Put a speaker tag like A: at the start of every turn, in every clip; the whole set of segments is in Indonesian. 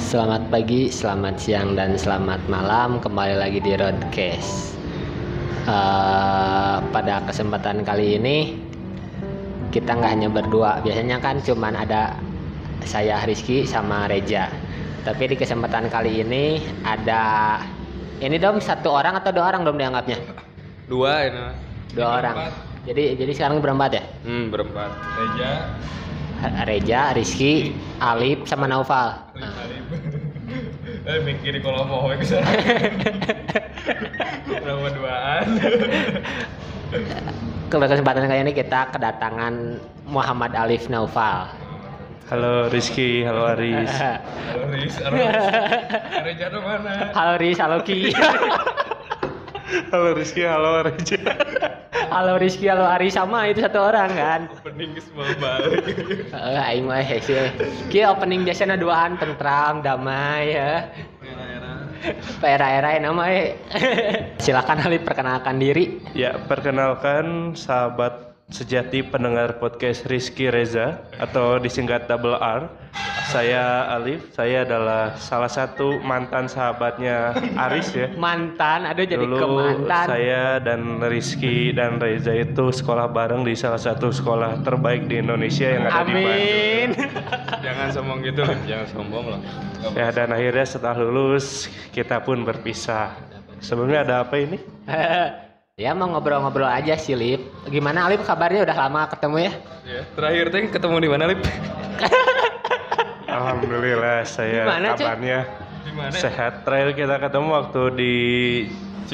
A: Selamat pagi, selamat siang, dan selamat malam Kembali lagi di Roadcast Eh, Pada kesempatan kali ini Kita nggak hanya berdua Biasanya kan cuman ada saya Rizky sama Reja Tapi di kesempatan kali ini ada Ini dong satu orang atau dua orang dong dianggapnya?
B: dua ya, ini mah.
A: Dua orang Jadi jadi sekarang berempat ya?
B: hmm berempat
C: Reja,
A: Reja, Rizky, Alip, sama Naufal Nah.
C: Alif. Eh mikir kalau mau ke sana. Berapa duaan?
A: Ke kesempatan kali ini kita kedatangan Muhammad Alif Naufal.
D: Halo Rizky, halo Aris.
C: Halo Riz, halo Riz. Reja tuh mana?
A: Halo Riz, halo Ki.
D: halo Rizky, halo Aris.
A: halo Rizky, halo Ari sama itu satu orang kan. Eh,
C: Opening ke semua balik.
A: Heeh, aing mah hese. Ki opening biasanya duaan tentram, damai ya. Era-era yang nama eh. Silakan Alif perkenalkan diri.
D: ya, perkenalkan sahabat sejati pendengar podcast Rizky Reza atau disingkat Double R. Saya Alif, saya adalah salah satu mantan sahabatnya Aris ya.
A: Mantan, aduh jadi ke
D: Dulu
A: mantan.
D: saya dan Rizky dan Reza itu sekolah bareng di salah satu sekolah terbaik di Indonesia yang ada di Bandung.
A: Amin.
B: jangan sombong gitu Lip. jangan sombong loh
D: Ya dan akhirnya setelah lulus kita pun berpisah. Sebelumnya ada apa ini?
A: ya mau ngobrol-ngobrol aja sih Lip. Gimana Alif kabarnya udah lama ketemu ya?
B: ya. terakhir teh ketemu di mana lip
D: Alhamdulillah saya
A: Gimana, Cek?
D: kabarnya
C: Di mana?
D: sehat. Terakhir kita ketemu waktu di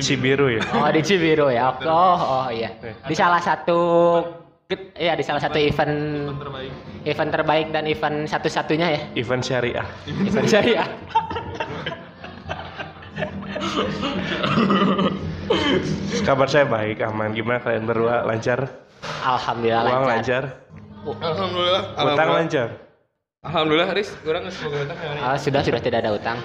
D: Cibiru ya.
A: Oh di Cibiru ya. Oh, oh, oh, iya. Di salah satu ge- ya di salah satu event
C: Yang terbaik.
A: event terbaik dan event satu-satunya ya.
D: Event syariah.
A: Event syariah.
D: Kabar saya baik, aman. Gimana kalian berdua? Lancar?
A: Alhamdulillah
D: Uang
A: lancar.
D: lancar?
C: Alhamdulillah.
D: Utang lancar?
B: alhamdulillah Riz
C: Kurang nggak semoga utang ya, hari.
A: Ah, sudah sudah tidak ada utang.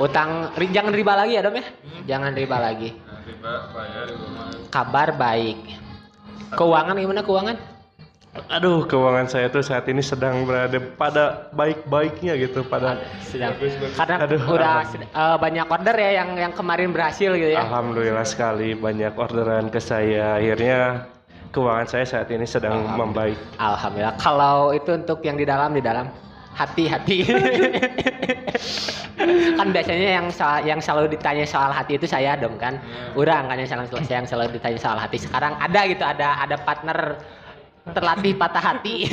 A: Utang ri- jangan riba lagi ya Dom ya. Jangan riba lagi.
C: Nah, tiba bayar di rumah.
A: Kabar baik. Keuangan gimana keuangan?
D: Aduh, keuangan saya tuh saat ini sedang berada pada baik-baiknya gitu. Pada
A: Sedang.
C: Bagus, bagus.
A: Karena
D: Aduh,
A: udah
D: alhamdulillah.
A: sed- eh, banyak order ya yang yang kemarin berhasil gitu ya.
D: Alhamdulillah sekali banyak orderan ke saya. Akhirnya keuangan saya saat ini sedang membaik.
A: Alhamdulillah. Kalau itu untuk yang di dalam di dalam hati-hati. kan biasanya yang soal- yang selalu ditanya soal hati itu saya dong kan. Urang kan yang selalu saya yang selalu ditanya soal hati. Sekarang ada gitu ada ada partner terlatih patah hati.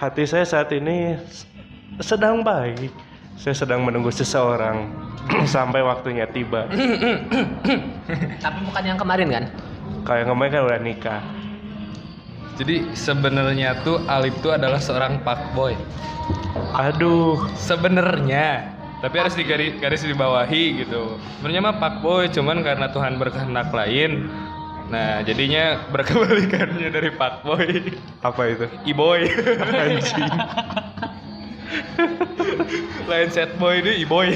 D: Hati saya saat ini s- sedang baik. Saya sedang menunggu seseorang sampai waktunya tiba.
A: Tapi bukan yang kemarin kan?
D: Kayak kemarin kan udah nikah.
B: jadi sebenarnya tuh Alip tuh adalah seorang fuckboy
D: Aduh,
B: sebenarnya tapi harus digaris garis dibawahi gitu sebenarnya mah fuckboy cuman karena Tuhan berkehendak lain nah jadinya berkebalikannya dari fuckboy
D: apa itu?
B: e-boy
D: Anjing.
B: lain set boy ini e-boy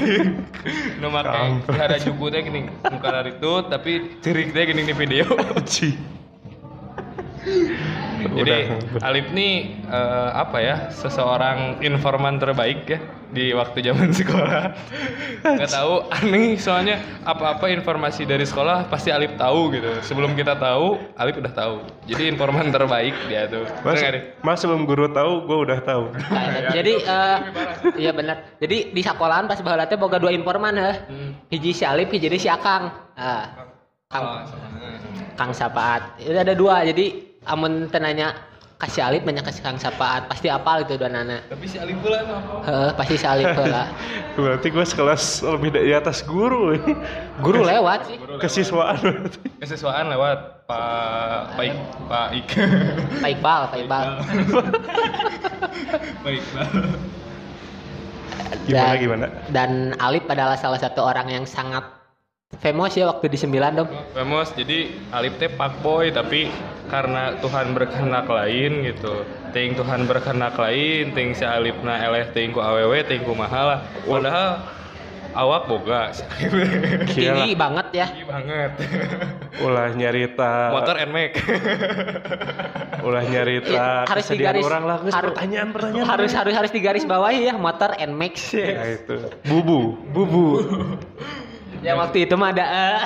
B: nu make
D: Kampret.
B: ada juku teh gini muka dari itu tapi cirik teh gini di video
D: Anjing.
B: Jadi
D: Udah.
B: Alip nih eh, apa ya seseorang informan terbaik ya di waktu zaman sekolah. Nggak tahu aneh soalnya apa-apa informasi dari sekolah pasti Alip tahu gitu. Sebelum kita tahu Alip udah tahu. Jadi informan terbaik dia tuh. Bener
D: Mas,
B: nggak, Dik?
D: mas sebelum guru tahu, gue udah tahu.
A: Jadi
D: gitu.
A: eh, iya benar. Jadi di sekolahan pas baheula teh boga dua informan heh.
B: Hmm.
A: Hiji si Alip, hiji deui si Akang. Ah. Kang
D: Oh,
C: Ah, sama.
A: Kang Sapaat. Itu ada dua. Jadi amun tenanya kasih Alip banyak kasih Kang Sapaat pasti apal itu dua nana.
B: Tapi si Alip pula emang apa?
A: Heeh, pasti si Alip lah.
D: Berarti gue sekelas lebih dari atas guru.
A: Guru lewat sih.
D: Kesiswaan berarti.
B: Kesiswaan lewat Pak Pak Ik- Pak Ik.
A: Pak Iqbal, Pak Iqbal.
C: Baik, Bang.
D: Gimana, gimana?
A: Dan Alip adalah salah satu orang yang sangat famous ya waktu di sembilan dong.
B: Famos jadi Alip teh fuckboy tapi karena Tuhan berkehendak lain gitu. Ting Tuhan berkehendak lain, ting si Alipna eleh ting ku awewe, ting ku mahal lah. Padahal awak boga
A: Tinggi
D: Gila,
A: banget ya.
B: Tinggi banget
D: ulah nyarita
B: motor NMAX
D: ulah nyarita
A: Harus
D: kesedihan
A: digaris-
D: orang lah geus
A: harus-
D: pertanyaan pertanyaan
A: Harus harus harus digaris bawahi ya motor Nmax.
D: ya itu bubu
A: Bubu. ya waktu itu mah ada eh.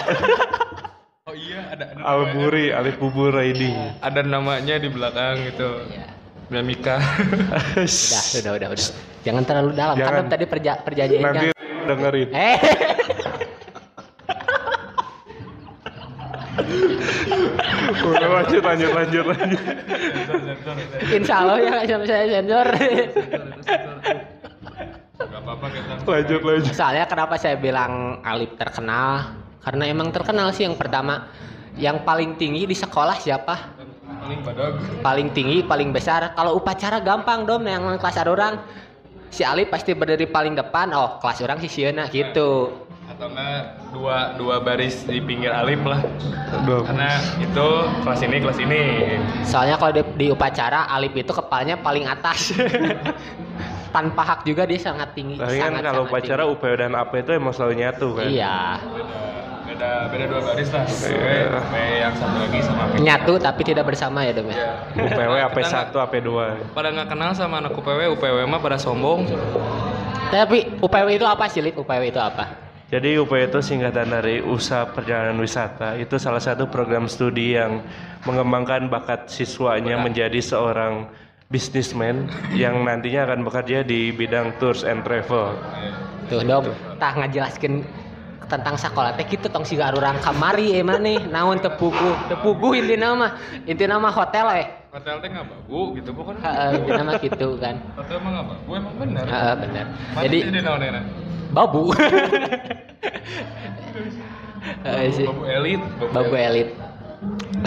B: oh iya ada ada,
D: alburi alif bubu riding
B: ada namanya di belakang gitu
A: Iya.
B: Mika
A: Udah, udah, udah, udah. Jangan terlalu dalam. Kan
D: Jangan.
A: tadi perja- perjanjiannya.
D: nanti dengerin
A: Eh.
D: udah lanjut lanjut lanjut lanjut
A: Insya Allah ya nggak saya sensor.
B: nggak apa-apa kita
D: lanjut lanjut
A: Soalnya kenapa saya bilang Alip terkenal? Karena emang terkenal sih yang pertama. Yang paling tinggi di sekolah siapa?
B: paling badag
A: Paling tinggi, paling besar. Kalau upacara gampang dong, yang kelas ada orang. Si Alip pasti berdiri paling depan. Oh, kelas orang si Siena gitu.
B: atau enggak dua dua baris di pinggir alif lah
D: Dong.
B: karena itu kelas ini kelas ini
A: Soalnya kalau di, di upacara Alip itu kepalanya paling atas. Tanpa hak juga dia sangat tinggi.
D: tapi kan
A: sangat-
D: kalau
A: sangat
D: upacara
A: tinggi.
D: UPO dan AP itu emang selalu nyatu kan
A: Iya.
B: beda beda beda dua baris lah
D: Iya.
B: gue gue yang satu lagi sama Iya.
A: Nyatu tapi tidak bersama ya, Dom
D: Iya.
A: ya.
D: UPW AP
B: Kita
D: 1 AP 2
B: pada nggak kenal sama anak UPW UPW mah pada sombong
A: Tapi UPW itu apa sih, Lip? UPW itu apa?
D: jadi UPW itu singkatan dari Usaha Perjalanan Wisata itu salah satu program studi yang mengembangkan bakat siswanya menjadi seorang bisnismen yang nantinya akan bekerja di bidang tours and travel
A: Tuh, Dom. Tah ngajelaskeun tentang sekolah teh gitu tong siga arurang kamari eh maneh naon teu puguh teu puguh intina mah intina mah hotel eh
B: hotel teh nggak bagu gitu bukan
A: heeh intina mah gitu kan
B: hotel emang nggak bagu emang bener
A: heeh bener
B: Mana
A: jadi
B: sih di naon-naonan?
A: babu Heeh, sih.
B: babu elit
A: Babu Elit.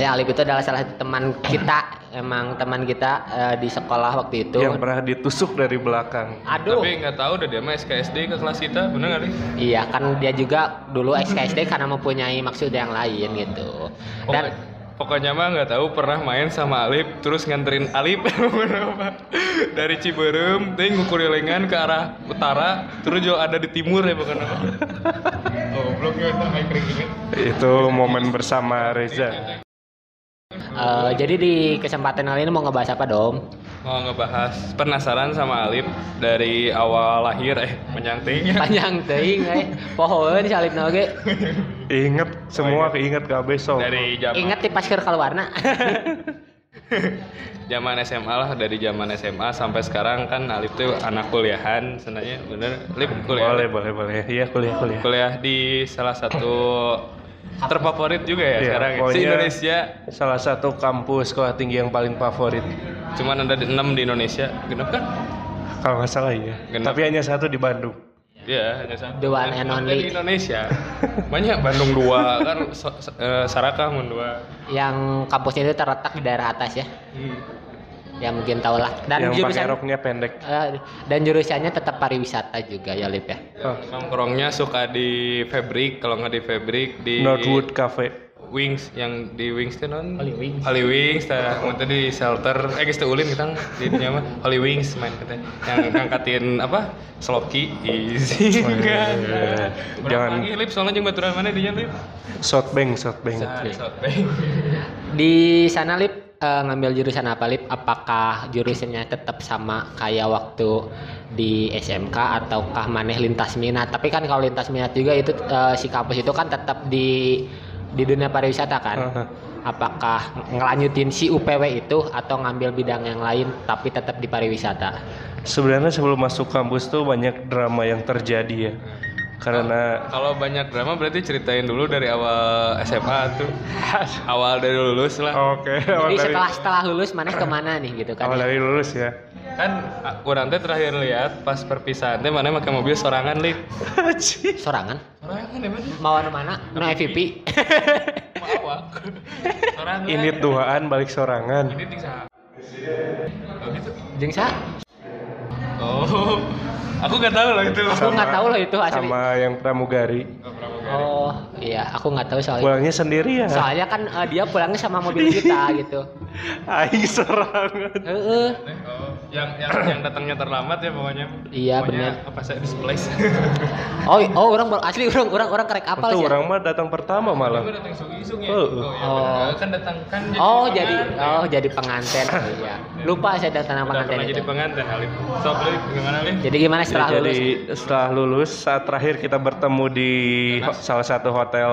A: Ya Alip itu adalah salah satu teman kita, emang teman kita eh, di sekolah waktu itu.
D: yang pernah ditusuk dari belakang
A: Aduh.
B: tapi nggak tahu udah dia mah SKSD ke kelas kita bener nggak nih
A: Iya kan dia juga dulu XKSD karena mempunyai maksud yang lain gitu. Dan
B: Pokok- pokoknya mah nggak tahu pernah main sama Alip terus nganterin Alip beberapa- dari Ciberem ting ngukurilingan ke arah utara terus juga ada di timur ya bukan apa oh belum ya sama kering inget
D: itu momen bersama Reza
A: eh, jadi di kesempatan kali ini mau ngebahas apa dom?
B: mau ngebahas penasaran sama Alip dari awal lahir eh menyangting
A: Panjang teing, eh. pohon si Alip Noge.
D: inget semua keinget KB besok
B: dari zaman
A: Ingat di pasker warna.
B: zaman SMA lah dari zaman SMA sampai sekarang kan Alip tuh anak kuliahan sebenarnya bener Alip kuliah
D: boleh boleh boleh iya kuliah kuliah
B: kuliah di salah satu terfavorit juga ya
D: Iya,
B: sekarang ya? si
D: pokoknya-
B: Indonesia
D: Salah satu kampus sekolah tinggi yang paling favorit.
B: cuman ada di- enam di Indonesia genap kan
D: Kalau nggak salah ya.
B: Genap.
D: Tapi hanya satu di Bandung.
B: Iya, ada satu.
A: The one and
B: Ada
A: only.
B: di Indonesia. Banyak Bandung dua kan so- so- eh, Sarakah mun dua.
A: yang kampusnya itu terletak di daerah atas ya.
B: Hmm.
A: Ya mungkin tau lah. Dan
D: yang pakai
A: jurusan
D: roknya pendek.
A: eh, dan jurusannya tetap pariwisata juga ya Alip ya.
D: Oh,
B: Nongkrongnya suka di Fabric, kalau nggak di Fabric di
D: Northwood Cafe.
B: Wings yang di Wings teh non
A: Holy Wings.
B: Holy Wings tah mun teh di shelter eh geus teu ulin kita di dinya mah Holy Wings main kita yang ngangkatin apa Sloki easy
D: Oh, iya,
B: enggak
D: iya, iya.
B: jangan
D: Jangan-
B: lagi lip soalnya jeung baturan mana dinya lip Nah,
D: Shotbank, shotbank.
A: Di sana Lip eh, ngambil jurusan apa Lip? Apakah jurusannya tetap sama kayak waktu di SMK ataukah maneh lintas minat? Tapi kan kalau lintas minat juga itu eh, si kampus itu kan tetap di di dunia pariwisata kan.
D: Aha.
A: Apakah ngelanjutin si UPW itu atau ngambil bidang yang lain tapi tetap di pariwisata?
D: Sebenarnya sebelum masuk kampus tuh banyak drama yang terjadi ya. Karena
B: Kalau banyak drama berarti ceritain dulu dari awal SMA tuh. awal dari lulus lah.
D: oke, awal
A: Jadi
D: dari
A: setelah setelah lulus maneh kemana nih gitu kan? ya?
D: awal dari lulus ya.
B: Kan ah, orang teh terakhir lihat pas perpisahan teh mana pakai mobil sorangan lip.
A: Sorangan?
B: Sorangan emang
A: Mau anu mana? No FVP?
B: mau awak. Sorangan.
D: Ini duaan balik sorangan.
B: ini tingsa. Oh gitu.
A: Jeung sa?
B: Oh. Aku nggak tahu loh itu.
A: Aku nggak tahu loh itu asli.
D: Sama yang pramugari.
A: Oh iya, aku nggak tahu soal itu.
D: Pulangnya ya? sendirian.
A: Soalnya kan eh, dia pulangnya sama mobil kita gitu.
D: Aing sorangan.
A: Heeh.
B: Oh, yang yang, yang datangnya terlambat ya pokoknya.
A: Iya,
B: Pokoknya
A: bener.
B: Apa saya displace?
A: Oh, oh orang baru- asli orang orang orang karek apal
D: Itu
A: sih. ya?
D: orang mah datang pertama
C: Gue
D: malah.
C: datang isung-isung ya.
D: Oh,
C: Oh, iya,
A: oh.
C: bener. kan datang kan
A: Oh,
C: jadi
B: Iya,
A: jadi
C: pengantin.
A: oh jadi penganten. Iya. Lupa saya datang
B: Udah
A: penganten
B: pernah
A: itu.
B: jadi pengantin Alif. Sob Alif gimana Alif?
A: Jadi gimana
D: Jadi,
A: setelah lulus?
D: setelah lulus saat terakhir kita bertemu di ho- salah satu hotel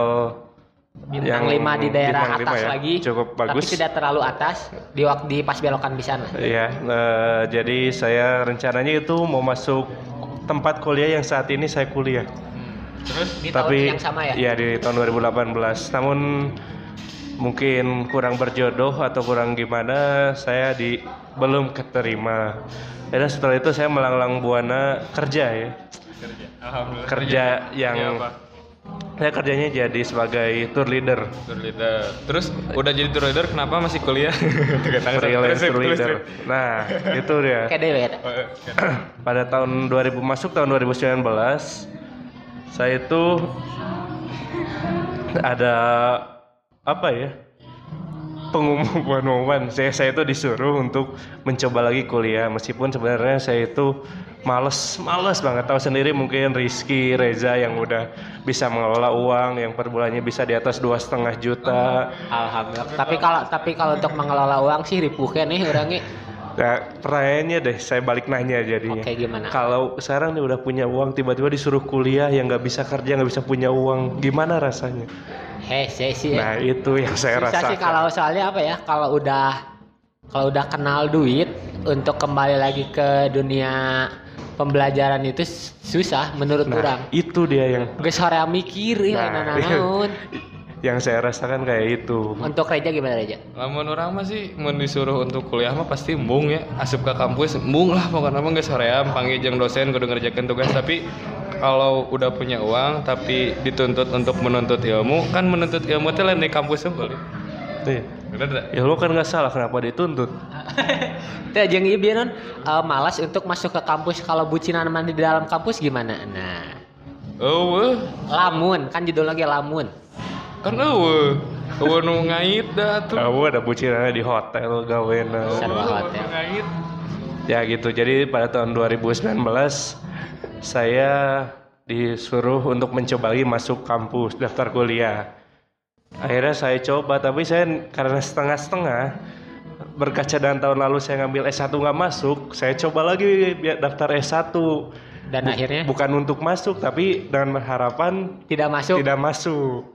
A: Bintang 5 di daerah
D: bintang lima
A: atas
D: ya.
A: lagi.
D: Cukup bagus.
A: Tapi tidak terlalu atas di wak- di pas belokan bisa lah.
D: Iya, eh, jadi saya rencananya itu mau masuk tempat kuliah yang saat ini saya kuliah.
A: Di
D: Tapi
A: tahun yang sama ya.
D: Iya, di tahun 2018. Namun mungkin kurang berjodoh atau kurang gimana, saya di belum keterima. Dan setelah itu saya melanglang buana kerja ya.
B: Kerja. Alhamdulillah.
D: Kerja
B: Iya,
D: yang
B: apa?
D: saya kerjanya jadi sebagai tour leader.
B: Tour leader. Terus udah jadi tour leader kenapa masih kuliah? Tergantung.
D: Freelance
B: Terus,
D: tour
B: terus,
D: leader.
B: terus.
D: Nah, itu dia.
A: Kayak dewe eta.
B: Oh, iya.
D: pada tahun 2000 masuk tahun 2019 saya itu ada apa ya pengumuman saya saya itu disuruh untuk mencoba lagi kuliah meskipun sebenarnya saya itu males males banget tahu sendiri mungkin Rizky Reza yang udah bisa mengelola uang yang per bulannya bisa di atas dua setengah juta
A: Alhamdulillah. Tapi kalau tapi kalau untuk mengelola uang sih ripuhkan nih orangnya.
D: nah pertanyaannya deh saya balik nanya jadinya
A: Oke gimana?
D: Kalau sekarang nih udah punya uang tiba-tiba disuruh kuliah yang nggak bisa kerja nggak bisa punya uang gimana rasanya?
A: Heh, saya sih.
D: Nah itu yang saya
A: Iya. Susah
D: rasakan.
A: sih kalau soalnya apa ya kalau udah kalau udah kenal duit untuk kembali lagi ke dunia pembelajaran itu s- susah menurut
D: nah
A: orang
D: itu dia yang
A: geus horea mikir ieu
D: Nah,
A: nah,
D: iya. yang saya rasakan kayak itu.
A: untuk Reja gimana Reja
B: Lamun orang mah sih mun disuruh untuk kuliah mah pasti embung ya. Asup ke kampus embung lah pokoknya mah geus soream panggil jeung dosen kudu ngerjakeun tugas tapi kalau udah punya uang tapi dituntut untuk menuntut ilmu kan menuntut ilmu teh lain di kampus unggul.
D: Iya.
B: Bener tidak?
D: Ya lu kan nggak salah kenapa dituntut?
A: teh jeung ieu bieu non eh, malas untuk masuk ke kampus kalau bucinan mandi di dalam kampus gimana nah
B: Eueuh,
A: lamun kan judul lagi lamun
B: kan eueuh. Eueuh nu ngait dah tuh.
D: Kamu ada bucinannya di hotel gawena.
A: sarwa hotel
B: Ngait.
D: Ya gitu. Jadi pada tahun 2019 saya disuruh untuk mencoba lagi masuk kampus daftar kuliah. Akhirnya saya coba tapi saya karena setengah-setengah berkaca dan tahun lalu saya ngambil S1 nggak masuk, saya coba lagi biar daftar S1.
A: dan akhirnya
D: Bukan untuk masuk tapi dengan harapan
A: tidak masuk
D: tidak masuk.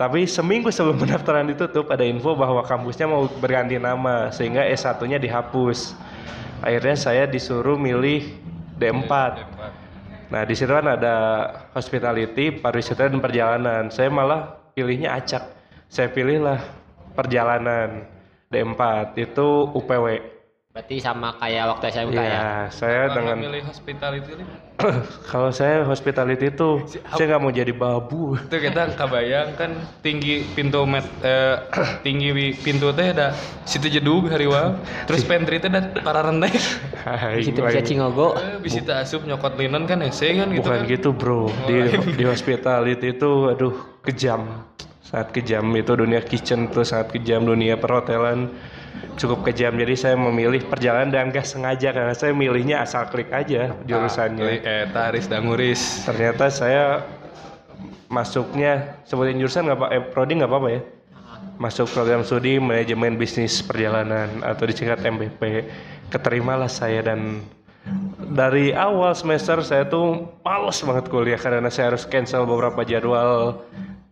D: Tapi seminggu sebelum pendaftaran ditutup ada info bahwa kampusnya mau berganti nama sehingga S1-nya dihapus. Akhirnya saya disuruh milih D4. Nah, di situ kan ada hospitality, pariwisata dan perjalanan. Saya malah pilihnya acak. Saya pilihlah perjalanan D4 itu UPW.
A: berarti sama kayak waktu SMK ya
D: Iya, saya dengan
B: Milih hospitality li.
D: kalau saya hospitality itu saya nggak mau jadi babu.
B: itu kita kabayang kan tinggi pintu met eh, tinggi wi- pintu teh ada situ jedug hariwang terus pantry teh dan para rendeh
A: di situ bisa
D: Iya.
A: cingogo
B: bisa asup nyokot linen kan hese kan gitu
D: Bukan
B: kan
D: gitu bro, di di hospitality itu aduh kejam, sangat kejam itu dunia kitchen tuh sangat kejam dunia perhotelan cukup kejam jadi saya memilih perjalanan dan gak sengaja karena saya milihnya asal klik aja
B: Jadi,
D: jurusannya.
B: eh taris danguris
D: Ternyata saya masuknya sebutin jurusan nggak pak, eh, prodi nggak apa-apa ya? Masuk program studi manajemen bisnis perjalanan atau disingkat MBP. Keterimalah saya dan dari awal semester saya tuh males banget kuliah karena saya harus cancel beberapa jadwal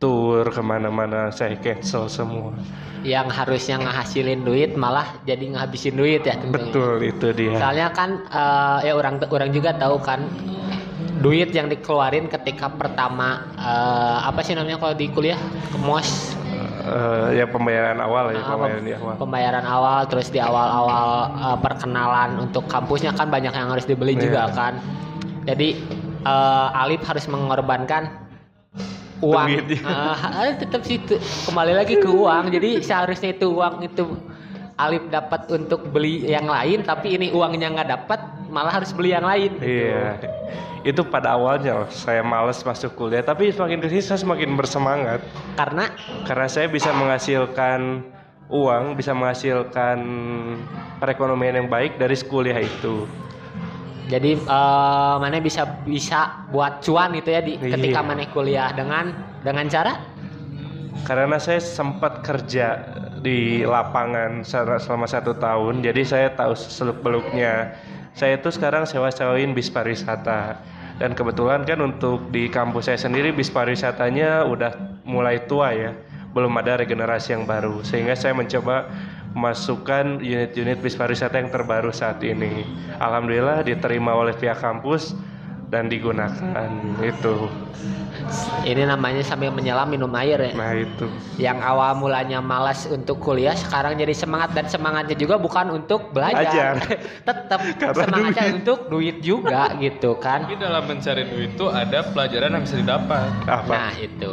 D: tour kemana-mana saya cancel semua.
A: yang harusnya ngehasilin duit malah jadi ngehabisin duit ya tentunya.
D: Betul itu dia.
A: Soalnya kan eh, ya orang orang juga tahu kan duit yang dikeluarin ketika pertama eh, apa sih namanya kalau di kuliah kemos
D: Eh, ya pembayaran awal
A: Nah,
D: ya pembayaran
A: pem-
D: di awal.
A: pembayaran awal terus di awal-awal eh, perkenalan untuk kampusnya kan banyak yang harus dibeli juga
D: Iya.
A: kan. Jadi eh, Alif harus mengorbankan uang.
D: Duitnya.
A: Eh, eh, tetap situ kembali lagi ke uang. Jadi seharusnya itu uang itu Alif dapat untuk beli yang lain tapi ini uangnya nggak dapat malah harus beli yang lain.
D: Iya. Itu pada awalnya loh, saya males masuk kuliah, tapi semakin kesini saya semakin bersemangat
A: Karena
D: karena saya bisa menghasilkan uang bisa menghasilkan perekonomian yang baik dari kuliah itu.
A: Jadi eh, mana bisa bisa buat cuan gitu ya di
D: Iya.
A: ketika mana kuliah dengan dengan cara
D: Karena saya sempat kerja di lapangan sel- selama satu tahun, jadi saya tahu seluk beluknya. Saya itu sekarang sewa sewain bis pariwisata dan kebetulan kan untuk di kampus saya sendiri bis pariwisatanya udah mulai tua ya, belum ada regenerasi yang baru, sehingga saya mencoba masukkan unit-unit bis pariwisata yang terbaru saat ini. Alhamdulillah diterima oleh pihak kampus dan digunakan itu.
A: ini namanya sambil menyelam minum air ya.
D: Nah itu.
A: Yang awal mulanya malas untuk kuliah sekarang jadi semangat dan semangatnya juga bukan untuk belajar. Tetap
D: Karena
A: semangatnya
D: duit.
A: untuk duit juga gitu kan.
B: Tapi dalam mencari duit itu ada pelajaran yang bisa didapat.
D: Apa?
A: Nah, itu.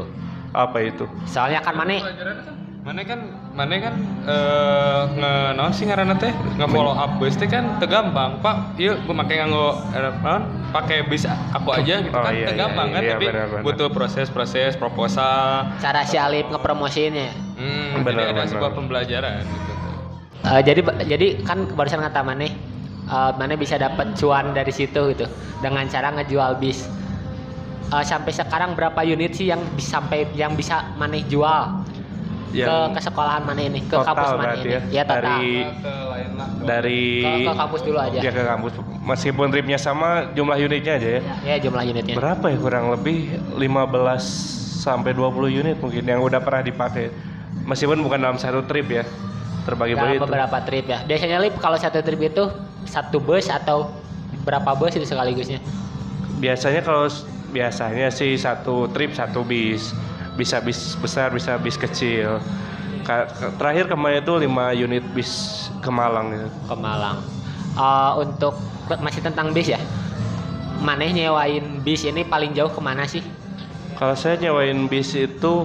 D: apa itu
A: Soalnya kan mana
B: Pelajarannya kan mana kan mana kan eh nge naon sih ngaranna teh nge follow up bus teh kan tegampang pak ieu make nganggo eh, naon pakai bis aku aja gitu
D: Oh,
B: kan
D: iya,
B: tegampang
D: iya,
B: kan
D: iya,
B: tapi
D: benar-benar.
B: butuh proses-proses proposal
A: cara si Alif ngepromosiinnya.
B: hmm, jadi ada
D: Benar-benar.
B: sebuah pembelajaran gitu
A: Eh, jadi jadi kan barusan kata mana eh, mana bisa dapat cuan dari situ gitu dengan cara ngejual bis. Eh, sampai sekarang berapa unit sih yang bis- sampai yang bisa mana jual
D: Yang
A: ke ke sekolahan mana ini ke
D: total
A: kampus mana
D: berarti
A: ini?
D: ya,
A: Ya, total.
D: dari
B: Nah, ke lain lah
D: dari
A: ke, ke kampus dulu aja.
D: ya ke kampus meskipun tripnya sama jumlah unitnya aja ya
A: Ya jumlah unitnya.
D: berapa ya kurang lebih 15 sampai 20 unit mungkin yang udah pernah dipakai meskipun bukan dalam satu trip ya
A: Dalam
D: terbagi-bagi itu
A: beberapa trip ya. Biasanya lip kalau satu trip itu satu bus atau berapa bus itu sekaligusnya?
D: biasanya kalau s- biasanya sih satu trip satu bis bisa bis besar bisa bis kecil Ka- ke- terakhir kemarin itu 5 unit bis ke Malang gitu.
A: ke Malang. Eh, untuk masih tentang bis ya. Maneh nyewain bis ini paling jauh kemana sih?
D: kalau saya nyewain bis itu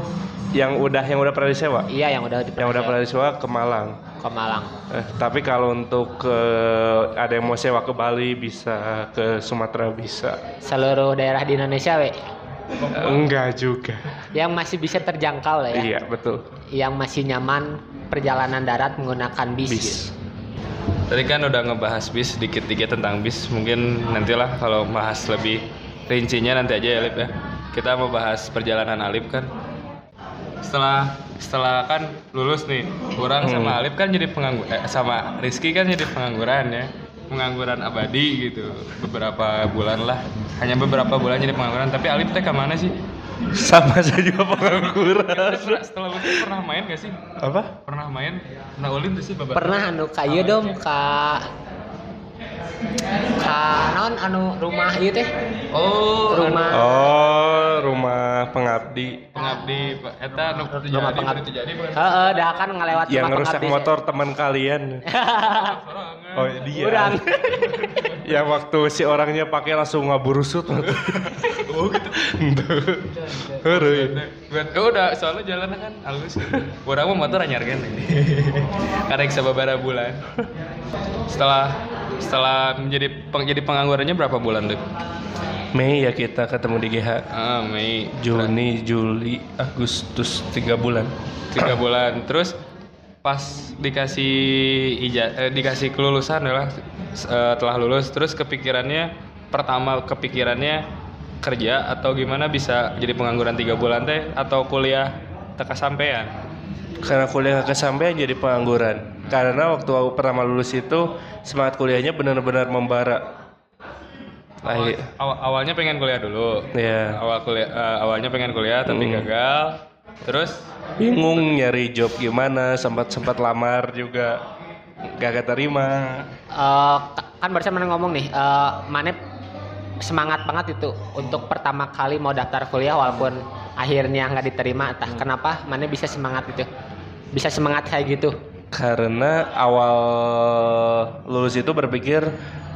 D: yang udah yang udah pernah disewa
A: Iya yang udah di
D: yang udah pernah disewa ke Malang.
A: ke Malang.
D: Eh, tapi kalau untuk ke ada yang mau sewa ke Bali bisa, ke Sumatera bisa.
A: Seluruh daerah di Indonesia we.
D: Eh, Enggak juga.
A: Yang masih bisa terjangkau lah ya.
D: Iya, betul.
A: Yang masih nyaman perjalanan darat menggunakan bis. gitu.
D: Bis.
B: tadi kan udah ngebahas bis dikit-dikit tentang bis mungkin nantilah kalau bahas lebih rincinya nanti aja ya Alip ya kita mau bahas perjalanan Alip kan setelah setelah kan lulus nih kurang sama Alip kan jadi pengangguran sama Rizky kan jadi pengangguran ya pengangguran abadi gitu beberapa bulan lah hanya beberapa bulan jadi pengangguran tapi Alip teh kemana sih
D: Sama saya juga pengangguran.
B: Pernah- setelah lulus pernah main gak sih
D: Apa?
B: pernah main pernah ulin tuh sih babak
A: Pernah anu kayu dong ka ka naon anu rumah ieu teh?
B: oh
A: Rumah
D: Oh, rumah pengabdi
B: pengabdi Pak. eta nu
A: rumah
B: terjadi
A: pengabdi.
B: baru terjadi bukan
A: Heeh, dah kan ngelewat
D: yang
A: rumah
D: rusak
A: pengabdi,
D: motor teman kalian. Oh,
A: ya.
D: dia.
A: Urang.
D: Ya waktu si orangnya pakai langsung ngaburusut. oh, gitu.
B: buat oh, udah soalnya jalan kan halus orang mah motor anyar kan karek sababara bulan setelah setelah menjadi peng, jadi penganggurannya berapa bulan Lip?
D: Mei ya kita ketemu di GH.
B: ah Mei
D: Juni, Juli, Agustus tiga bulan.
B: tiga bulan terus pas dikasih ija eh, dikasih kelulusan adalah eh, telah lulus terus kepikirannya pertama kepikirannya kerja atau gimana bisa jadi pengangguran tiga bulan teh atau kuliah teka sampean
D: Karena kuliah gak kesampaian jadi pengangguran. Karena waktu aku pertama lulus itu semangat kuliahnya benar-benar membara.
B: Awal-
D: Akhir-
B: aw- awalnya pengen kuliah dulu
D: ya,
B: awal kuliah eh, awalnya pengen kuliah tapi
D: Hmm.
B: gagal terus
D: bingung nyari job gimana, sempat sempat lamar juga gak keterima.
A: Eh, kan barusan mana ngomong nih, eh mana semangat banget itu untuk pertama kali mau daftar kuliah walaupun akhirnya nggak diterima, entah kenapa mana bisa semangat itu, bisa semangat kayak gitu.
D: Karena awal lulus itu berpikir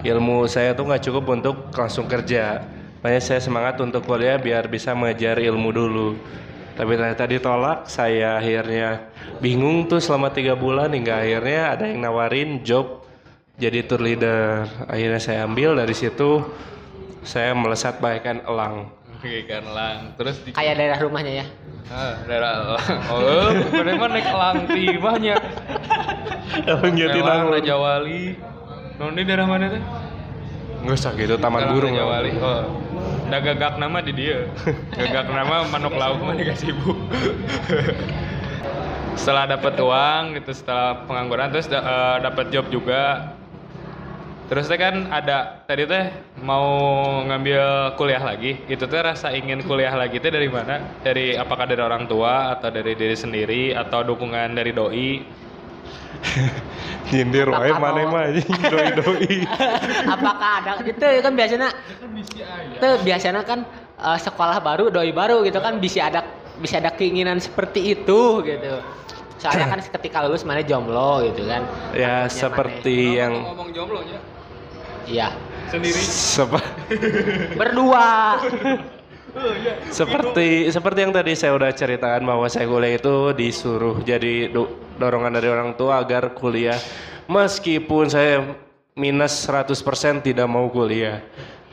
D: ilmu saya tuh nggak cukup untuk langsung kerja. Makanya saya semangat untuk kuliah biar bisa mengejar ilmu dulu. Tapi ternyata ditolak, saya akhirnya bingung tuh selama tiga bulan hingga akhirnya ada yang nawarin job jadi tour leader. Akhirnya saya ambil dari situ saya melesat bagaikan elang.
B: oke kan lang terus di-
A: Kayak daerah rumahnya ya,
B: Ah, daerah Oh, kemarin mah naik Elanti banyak.
D: Emang
B: Elang,
D: Jatinangor.
B: Raja Wali. Non di daerah mana teh?
D: Nggak usah gitu, Taman
B: Elang,
D: Burung.
B: Raja Wali. Oh. Da gagak nama di dia. Gagak nama manuk lauk mah dikasih ibu. setelah dapat uang gitu setelah pengangguran terus da- eh, dapat job juga. Terus teh kan ada tadi teh mau ngambil kuliah lagi. Itu teh rasa ingin kuliah lagi teh dari mana? Dari apakah dari orang tua atau dari diri sendiri atau dukungan dari doi?
D: Nyindir wae
A: Apakah
D: mana
A: mau-
D: mah anjing doi-doi.
A: apakah ada gitu kan biasanya tuh biasanya kan eh, sekolah baru doi baru gitu kan bisa ada bisa ada keinginan seperti itu gitu soalnya kan ketika lulus mana jomblo gitu kan
D: Ya
A: Takutnya
D: seperti yang
B: Ngomong jomblo nya
A: maneh. iya
B: sendiri.
D: sepa-
A: berdua
D: seperti seperti yang tadi saya udah ceritakan bahwa saya kuliah itu disuruh jadi do- dorongan dari orang tua agar kuliah meskipun saya minus 100% tidak mau kuliah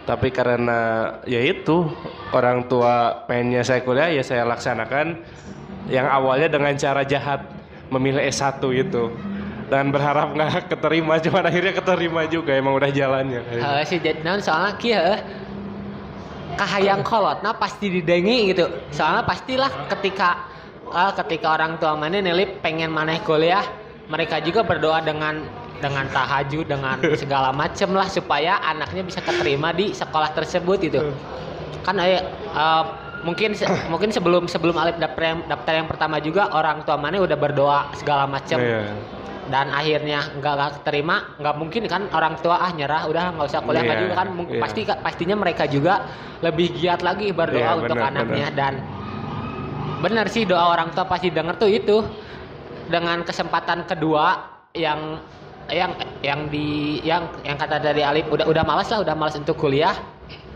D: tapi karena ya itu orang tua pengennya saya kuliah ya saya laksanakan yang awalnya dengan cara jahat memilih S1 itu dan berharap nggak keterima cuman akhirnya keterima juga emang udah jalannya
A: Eh, si jadi naon soalnya kia kahayang kolotna pasti didengi gitu soalnya pastilah ketika eh, ketika orang tua mana nilai pengen maneh kuliah mereka juga berdoa dengan dengan tahajud dengan segala macem lah supaya anaknya bisa keterima di sekolah tersebut gitu kan eh, eh, mungkin se- mungkin sebelum sebelum alif daftar yang, daftar yang pertama juga orang tua mana udah berdoa segala macem
D: Iya.
A: dan akhirnya nggak nggak terima nggak mungkin kan orang tua ah nyerah udah nggak usah kuliah nggak
D: Iya,
A: juga kan Mung-
D: iya.
A: pasti pastinya mereka juga lebih giat lagi berdoa
D: Iya,
A: untuk
D: benar,
A: anaknya dan benar sih doa orang tua pasti denger tuh itu dengan kesempatan kedua yang yang yang di yang yang kata dari Alif udah udah malas lah udah malas untuk kuliah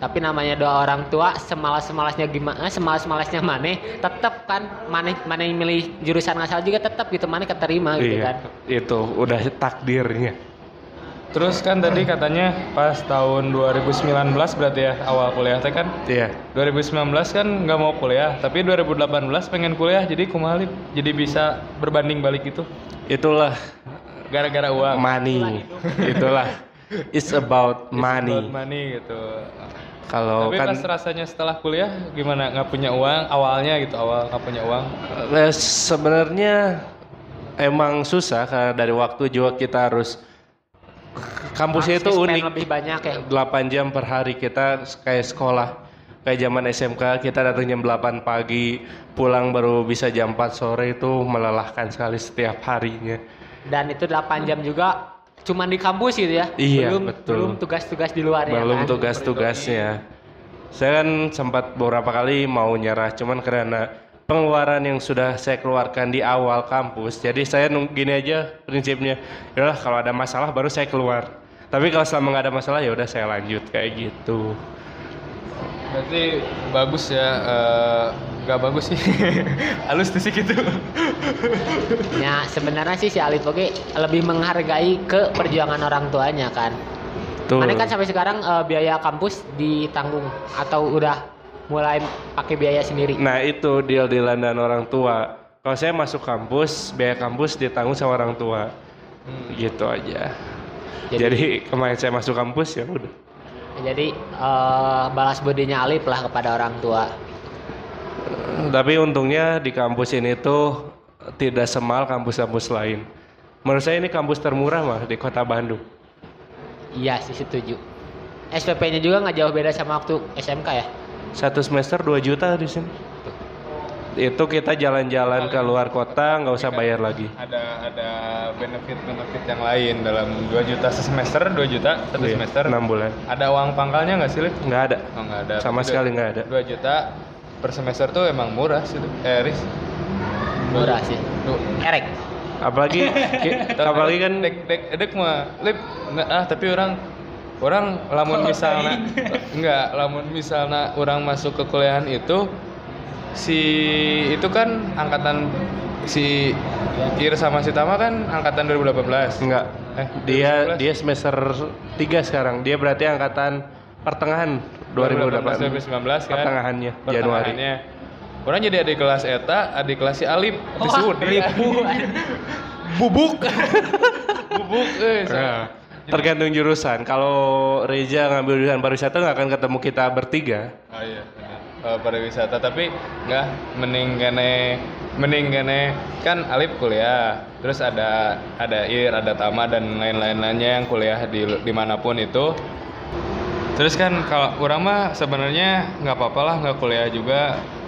A: tapi namanya doa orang tua semalas semalasnya gimana semalas semalasnya maneh tetap kan maneh maneh milih jurusan asal juga tetap gitu maneh keterima gitu kan
D: Iya, itu udah takdirnya.
B: Terus kan tadi katanya pas tahun 2019 berarti ya awal kuliah teh kan
D: Iya.
B: 2019 kan nggak mau kuliah, tapi 2018 pengen kuliah jadi kumalip, jadi bisa berbanding balik itu
D: Itulah
B: gara-gara uang.
D: money. Itulah it's about
B: Buat
D: money.
B: money gitu.
D: Kalau
B: tapi
D: kan
B: pas rasanya setelah kuliah gimana? Nggak punya uang awalnya gitu, awal nggak punya uang.
D: eh, sebenarnya emang susah karena dari waktu juga kita harus kampusnya itu
A: Harus spend
D: unik.
A: lebih banyak ya
D: 8 jam per hari kita kayak sekolah kayak zaman SMK kita datang jam 8 pagi pulang baru bisa jam 4 sore itu melelahkan sekali setiap harinya
A: dan itu 8 jam juga cuman di kampus gitu ya
D: Iya,
A: belum
D: betul.
A: belum tugas-tugas di luar ya
D: belum
A: kan?
D: tugas-tugasnya saya kan sempat beberapa kali mau nyerah cuman karena pengeluaran yang sudah saya keluarkan di awal kampus jadi saya nung- gini aja prinsipnya yaudahlah kalau ada masalah baru saya keluar tapi kalau selama nggak ada masalah ya udah saya lanjut kayak gitu
B: Berarti bagus ya, eh, nggak bagus sih. Halus tuh sih gitu.
A: Ya sebenarnya sih si Alif oke lebih menghargai ke perjuangan orang tuanya kan.
D: tuh
A: Mana kan sampai sekarang eh, biaya kampus ditanggung atau udah mulai pakai biaya sendiri.
D: nah itu deal dealan dan orang tua kalau saya masuk kampus biaya kampus ditanggung sama orang tua gitu aja jadi, kemarin saya masuk kampus ya udah
A: Jadi eh, balas budinya Alif lah kepada orang tua.
D: Hmm, Tapi untungnya di kampus ini tuh tidak semal kampus-kampus lain. Menurut saya ini kampus termurah mah di kota Bandung.
A: Iya sih setuju. SPP-nya juga nggak jauh beda sama waktu SMK ya.
D: Satu semester 2 juta di sini. Itu kita jalan-jalan ke luar kota nggak usah bayar lagi.
B: Ada ada benefit-benefit yang lain dalam 2 juta semester, 2 juta satu
D: Iya,
B: semester.
D: enam bulan.
B: Ada uang pangkalnya nggak sih, Lip?
D: Nggak ada.
B: Oh, nggak ada.
D: Sama
B: Tapi
D: sekali
B: dua-
D: nggak ada.
B: 2 juta per semester tuh emang murah sih, Lip. eh, Riz.
A: Murah sih.
B: Duh.
A: Erek.
D: Apalagi ki- apalagi kan
B: dek dek dek mah lip nggak, ah tapi orang orang lamun misalnya enggak lamun misalnya orang masuk ke kuliahan itu si itu kan angkatan si Ir sama si Tama kan angkatan 2018
D: nggak.
B: eh 2019.
D: Dia dia semester 3 sekarang. Dia berarti angkatan pertengahan 2018.
B: 2019 kan
D: Pertengahannya Januari.
B: Pertengahannya. Orang jadi adik kelas Eta, adik kelas si Alip, oh, ribu, bubuk, bubuk, eh,
D: Nah, tergantung jurusan. Kalau Reza ngambil jurusan pariwisata nggak akan ketemu kita bertiga.
B: Oh iya benar. Eh, pariwisata tapi nggak mending gane mending gane kan Alip kuliah terus ada ada Ir ada Tama dan lain-lain lainnya yang kuliah di dimanapun itu terus kan kalau kurang mah sebenarnya nggak apa-apa lah nggak kuliah juga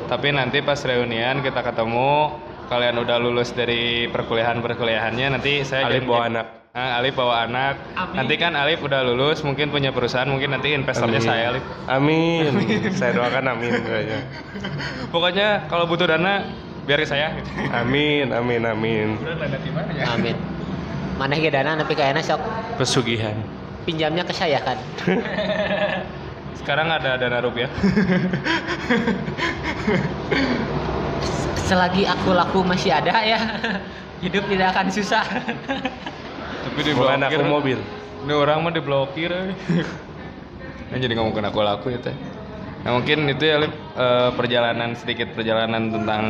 B: tapi nanti pas reunian kita ketemu kalian udah lulus dari perkuliahan perkuliahannya nanti saya
D: Alif
B: jadi-
D: bawa anak.
B: Ah, Alif bawa anak nanti kan Alif udah lulus mungkin punya perusahaan mungkin nanti investornya
D: Amin.
B: saya Alif
D: Amin. Saya doakan amin kayaknya.
B: Pokoknya kalau butuh dana biar ke saya. gitu.
D: Amin, amin, amin.
A: Amin. Maneh ge dana nepi ka enak sok
D: Pesugihan.
A: pinjamnya ke saya kan.
B: Sekarang ada dana rupiah.
A: Selagi aku laku masih ada ya. Hidup tidak akan susah.
B: Tapi
D: Bukan aku mobil.
B: Ini orang mah diblokir. eh. Nah, jadi ngomongin aku laku ya teh. Nah mungkin itu ya Lip, eh, perjalanan sedikit perjalanan tentang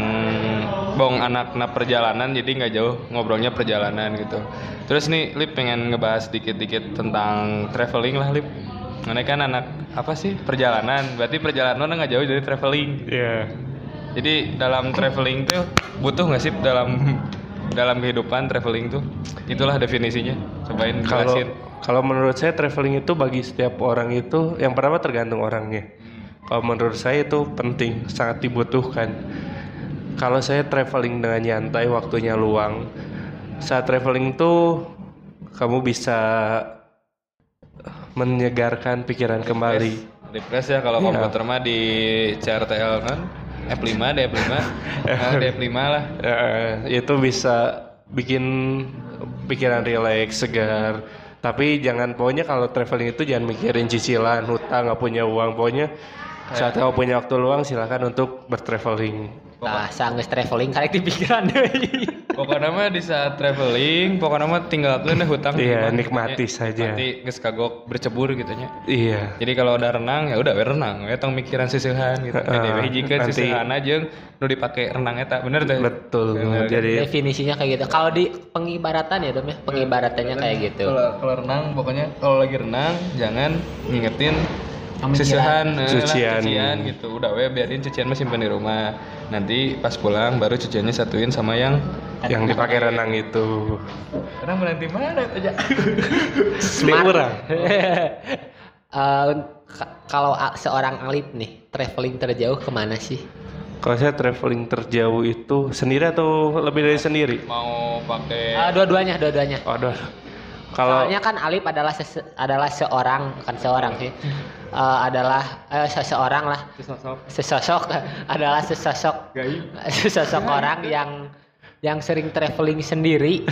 B: bong anak na perjalanan jadi nggak jauh ngobrolnya perjalanan gitu. Terus nih Lip pengen ngebahas sedikit-dikit tentang traveling lah Lip. Karena kan anak apa sih perjalanan? Berarti perjalanan nggak jauh dari traveling.
D: Iya.
B: Jadi dalam traveling tuh butuh nggak sih dalam dalam kehidupan traveling tuh? Itulah definisinya. Cobain
D: Kalau
B: jelasin.
D: kalau menurut saya traveling itu bagi setiap orang itu yang pertama tergantung orangnya. Kalau menurut saya itu penting, sangat dibutuhkan. Kalau saya traveling dengan nyantai, waktunya luang. Saat traveling tuh kamu bisa menyegarkan pikiran kembali.
B: Refresh ya kalau
D: Iya.
B: komputer mah di CRTL kan F5, D5, nah, D5 lah.
D: Eh, itu bisa bikin pikiran rileks, segar. Tapi jangan pokoknya kalau traveling itu jangan mikirin cicilan, hutang, nggak punya uang. Pokoknya saat kamu punya waktu luang silahkan untuk bertraveling.
A: Nah, sanggeus traveling karek di pikiran deui.
B: Pokoknya mah di saat traveling, pokoknya mah tinggalkan deh hutang.
D: Iya,
B: Cuma,
D: nikmati
B: ya,
D: saja.
B: Nanti geus kagok bercebur gitu nya.
D: Iya.
B: Jadi kalau udah renang ya udah we renang, ya tong mikiran sisihan gitu.
D: Heeh,
B: Uh, jika
D: nanti-
B: sisihan aja nu dipake renang eta bener teh.
D: Betul.
B: Bener. kan?
D: Jadi
A: Definisinya kayak gitu. Kalau di pengibaratan ya, Dom ya, pengibaratannya kayak gitu.
B: Iya. Kalau kalau renang pokoknya kalau lagi renang jangan ngingetin
A: Pemikiran.
B: sisihan eh, lah,
D: Cucian.
B: cucian gitu. Udah we biarin cucian mah simpen di rumah. Nanti pas pulang baru cuciannya satuin sama yang
D: yang dipakai renang itu
B: renang nanti mana aja.
D: Smart. orang.
A: Eh, ka- kalau a- seorang Alip nih, traveling terjauh kemana sih?
D: Kalau saya traveling terjauh itu sendiri atau lebih dari sendiri?
B: Mau pakai
A: Eh, dua-duanya, dua-duanya.
D: Aduh. Kalau
A: Soalnya kan Alip adalah sese- adalah seorang bukan seorang sih. Eh, adalah eh, seseorang lah sesosok adalah sesosok sesosok orang yang yang sering traveling sendiri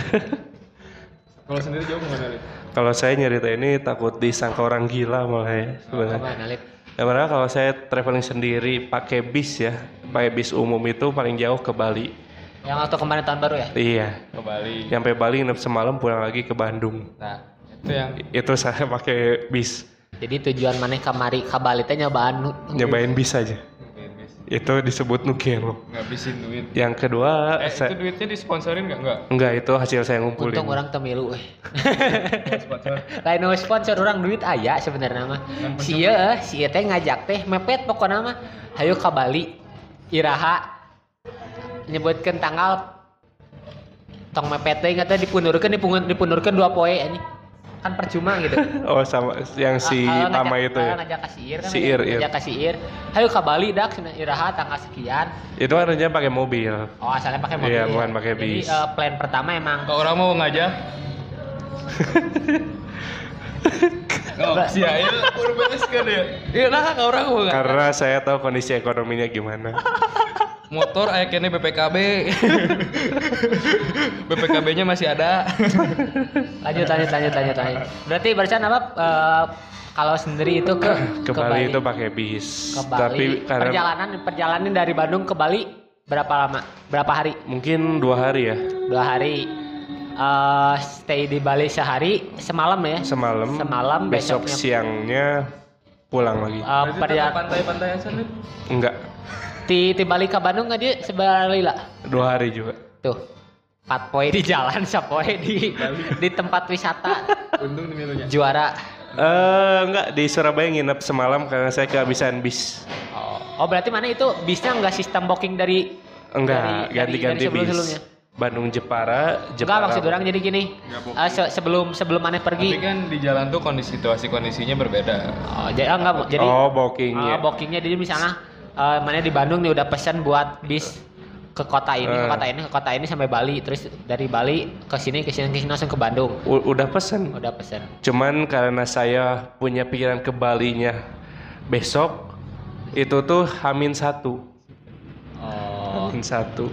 B: Kalau sendiri jauh mana?
D: kalau saya nyerita ini takut disangka orang gila malah ya sebenarnya.
A: Kemana, Alip?
D: Ya padahal kalau saya traveling sendiri pakai bis ya, pakai bis umum itu paling jauh ke Bali.
A: yang waktu kemarin tahun baru ya
D: Iya,
B: Ke Bali.
D: sampai Bali nginep semalam pulang lagi ke Bandung.
B: Nah, itu yang
D: Itu saya pakai bis,
A: jadi tujuan maneh kamari ka Bali teh nyobaan
D: nyobain bis aja. Itu disebut nugen loh.
B: ngabisin duit.
D: Yang kedua,
B: Eh,
D: saya-
B: itu duitnya disponsorin nggak? Nggak.
D: enggak itu hasil saya ngumpulin.
A: untung orang temilu eh lain nu sponsor orang duit aya sebenarnya mah sia eh, sia teh ngajak teh mepet pokoknya mah hayo ka Bali iraha nyebutkan tanggal tong mepet teh nggak dipunurkan dipunurkan dipunurkan dua poe ini kan percuma gitu
D: Oh sama yang si
A: Ah, kalau
D: Tama
A: ngajak-
D: itu ya.
A: kalau ngajak kasir kan
D: Si
A: ngajak-
D: Ir, Ir.
A: ngajak kasir hayo ka Bali dak cina iraha tanggal sekian
D: Itu kan rencana pakai mobil.
A: oh asalnya pakai mobil
D: Iya,
A: ya.
D: bukan pakai
A: jadi
D: bis.
A: eh, plan pertama emang
B: Kalau orang mau ngajak. Oh, si Ail udah beres kan ya? Iya lah, kalau orang mau ngajak.
D: Karena saya tahu kondisi ekonominya gimana.
B: Motor aya kene BPKB. BPKB-nya masih ada.
A: lanjut lanjut lanjut lanjut lanjut berarti barusan apa eh, kalau sendiri itu ke
D: Ke, Bali itu pakai bis.
A: ke Bali
D: Tapi karena
A: perjalanan perjalanan dari Bandung ke Bali berapa lama berapa hari
D: mungkin dua hari ya
A: dua hari Eh, stay di Bali sehari semalam ya
D: semalam.
A: semalam
D: besok
A: besoknya
D: siangnya pulang lagi.
A: eh, perjalanan
B: pantai-pantai aja nih.
D: Enggak.
A: Ti ti balik ke Bandung nggak dia sebelah lila.
D: Dua hari juga.
A: Tuh. Empat poin di jalan, sapoe di di tempat wisata.
C: Untung di milunya.
A: Juara.
D: Eh enggak di Surabaya nginep semalam karena saya kehabisan bis.
A: Oh, berarti mana itu bisnya nggak sistem booking dari
D: Enggak,
A: Dari-
D: ganti-ganti
A: dari- dari
D: bis.
A: sebelum-sebelumnya.
D: Bandung Jepara,
A: Enggak
D: Jepara.
A: maksud orang jadi gini. Eh, se- sebelum sebelum aneh
B: Tapi
A: pergi.
B: kan di jalan tuh kondisi situasi kondisinya berbeda.
A: Oh, jadi enggak jadi
D: oh, booking
A: Ah,
D: ya.
A: bookingnya jadi misalnya eh, mana di Bandung nih udah pesen buat bis ke kota ini, ke
D: Eh.
A: kota ini, ke kota ini sampai Bali, terus dari Bali ke sini, ke sini, ke sini langsung ke Bandung.
D: U- udah pesen.
A: Udah pesen.
D: Cuman karena saya punya pikiran ke Balinya besok itu tuh Hamin satu,
A: Oh. Ah.
D: Hamin satu.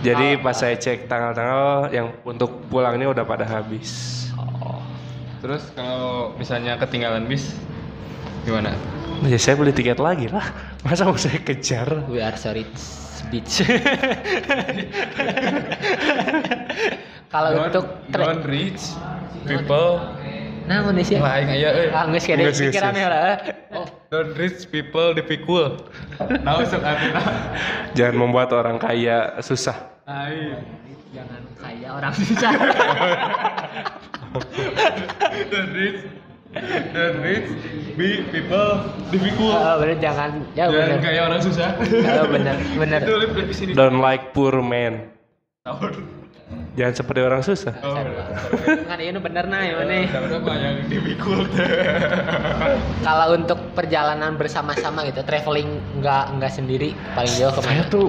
D: Jadi pas saya cek tanggal-tanggal yang untuk pulangnya udah pada habis.
A: Oh.
B: Terus kalau misalnya ketinggalan bis gimana?
D: Ya saya beli tiket lagi lah. Masa mau saya kejar?
A: We are sorry bitch. Kalau
B: Don't-
A: untuk trek,
B: don't reach people Iya, eh.
A: nah Indonesia.
B: lain aja euy.
A: Ah, geus kene
D: Geus, geus,
A: pikirannya
D: geus.
A: lah.
B: Don't reach people dipikul. Nah, sok artinya.
D: Jangan membuat orang kaya susah.
B: Ai.
A: Jangan kaya orang susah.
B: Don't reach don't reach be people dipikul.
A: Oh, bener jangan ya
B: Jangan
A: bener.
B: kayak orang susah.
A: Oh, bener bener.
B: Itu lip di sini.
D: Don't like poor man.
B: Tahun.
D: Jangan seperti orang susah.
B: Oh,
A: Kan ini bener nah ya mana.
B: berapa yang dipikul?
A: Kalau untuk perjalanan bersama-sama gitu, traveling nggak nggak sendiri paling jauh
D: Saya
A: kemana?
D: tuh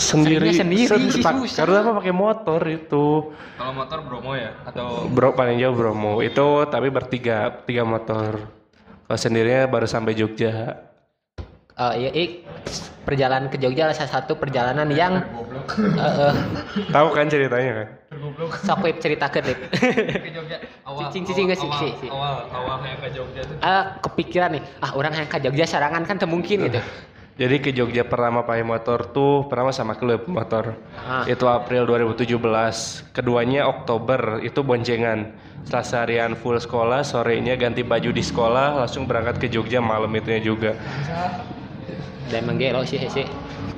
D: sendiri,
A: Seringnya sendiri sih,
D: pak-
A: susah.
D: karena apa pakai motor itu
B: Kalau motor Bromo ya atau
D: bro paling jauh Bromo itu tapi bertiga tiga motor kalau sendirinya baru sampai Jogja
A: Eh, iya, iya. perjalanan ke Jogja adalah salah satu perjalanan yang eh, eh,
D: tahu kan ceritanya kan
A: sok web cerita kedip.
B: ke Jogja awal.
A: Cicing, cicing,
B: awal-
A: cicing,
B: awal-
A: cicing.
B: Awal awal yang ke Jogja tuh.
A: Eh, kepikiran nih, ah orang yang ke Jogja sarangan kan temungkin gitu.
D: jadi ke Jogja pertama pakai motor tuh pertama sama klub motor
A: Ah.
D: itu April 2017 keduanya Oktober itu boncengan setelah seharian full sekolah sorenya ganti baju di sekolah langsung berangkat ke Jogja malam itunya juga
A: Dan emang gelo sih sih.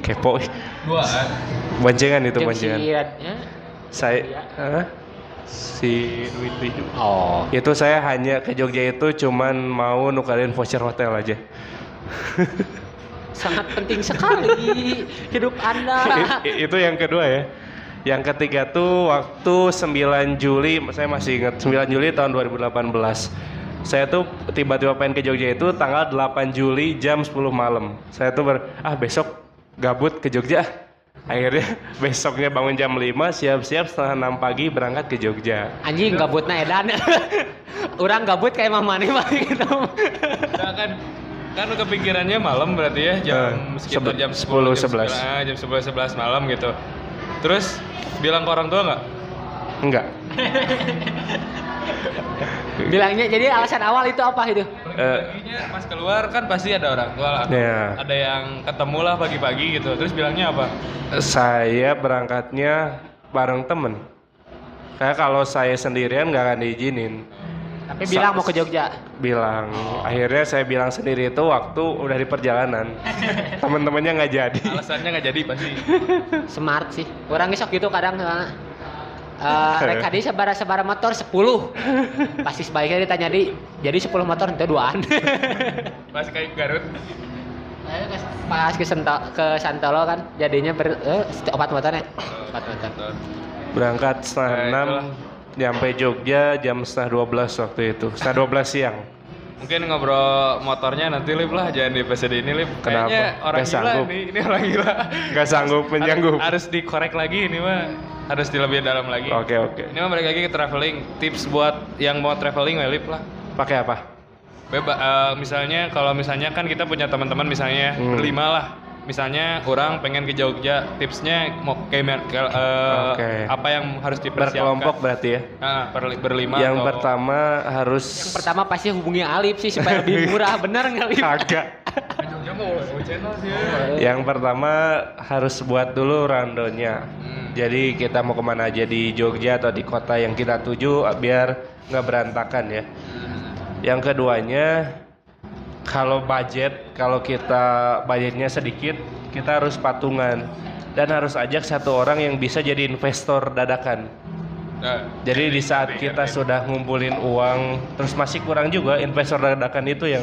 D: kepo ih.
B: Dua kan.
D: boncengan itu
A: Jeung
D: boncengan
A: si Rad- eh?
D: saya Hah? si Dwiti
A: Oh,
D: itu saya hanya ke Jogja itu cuman mau nukarin voucher hotel aja
A: sangat penting sekali hidup Anda.
D: I- itu yang kedua ya yang ketiga tuh waktu 9 Juli saya masih ingat 9 Juli tahun 2018 saya tuh tiba-tiba pengen ke Jogja itu tanggal 8 Juli jam 10 malam saya tuh ber ah besok gabut ke Jogja ah." akhirnya besoknya bangun jam 5 siap-siap setengah 6 pagi berangkat ke Jogja
A: Anjing gabutna edan. Orang gabut kayak mamane mah gitu.
B: Nah, kan kan kepikirannya malam berarti ya jam
D: Eh,
B: sekitar
D: sebe-
B: jam 10, jam
D: 10, 11.
B: 11, ah, jam 11 11 malam gitu. Terus bilang ke orang tua nggak?
D: enggak
A: Bilangnya jadi alasan awal itu apa gitu? itu?
D: Eh,
B: Paginya pas keluar kan pasti ada orang tua lah.
D: Iya.
B: Ada yang ketemu lah pagi-pagi gitu. Terus bilangnya apa?
D: Saya berangkatnya bareng temen. Kayak kalau saya sendirian nggak akan diizinin.
A: Tapi bilang mau ke Jogja.
D: Bilang, akhirnya saya bilang sendiri itu waktu udah di perjalanan. Temen-temennya nggak jadi.
B: Alasannya nggak jadi pasti.
A: Smart sih. Orang ngesok gitu kadang eh eh, rek tadi sabara sabara motor 10. Pasti sebaiknya ditanya di jadi 10 motor itu duaan.
B: Pas kayak Garut.
A: Ayo ke- Pas ke, Senta- ke Santolo kan jadinya ber, eh, opat motornya. Opat motor.
D: Berangkat setengah
B: Ya,
D: enam,
B: itulah.
D: nyampe Jogja jam setengah 12 waktu itu. Setengah 12 siang.
B: Mungkin ngobrol motornya nanti lip lah jangan di episode ini lip.
D: Kenapa?
B: Kayaknya orang
D: Nggak
B: gila
D: sanggup.
B: nih. Ini orang gila.
D: Nggak sanggup menyanggup.
B: Harus dikorek lagi ini mah. Harus di lebih dalam lagi.
D: Oke oke.
B: Ini mah balik lagi ke traveling. Tips buat yang mau traveling welip lah.
D: Pakai apa?
B: Beba, eh, misalnya kalau misalnya kan kita punya teman-teman misalnya
D: Hmm.
B: berlima lah. Misalnya orang pengen ke Jogja, tipsnya mau kayak mer- ke- eh,
D: Oke.
B: apa yang harus dipersiapkan?
D: Berkelompok berarti ya.
B: Nah, per- berlima
D: Yang
B: atau-
D: pertama harus
A: Yang pertama pasti hubungi Alip sih supaya lebih murah, bener nggak Alip?
D: kagak.
B: Ke Jogja mau mau channel sih.
D: Yang pertama harus buat dulu randonnya. Jadi kita mau kemana aja di Jogja atau di kota yang kita Hmm. tuju biar nggak berantakan ya. Yang keduanya kalau budget kalau kita budgetnya sedikit kita harus patungan dan harus ajak satu orang yang bisa jadi investor dadakan
C: Nah,
D: jadi di saat kita sudah ngumpulin uang terus masih kurang juga investor dadakan itu yang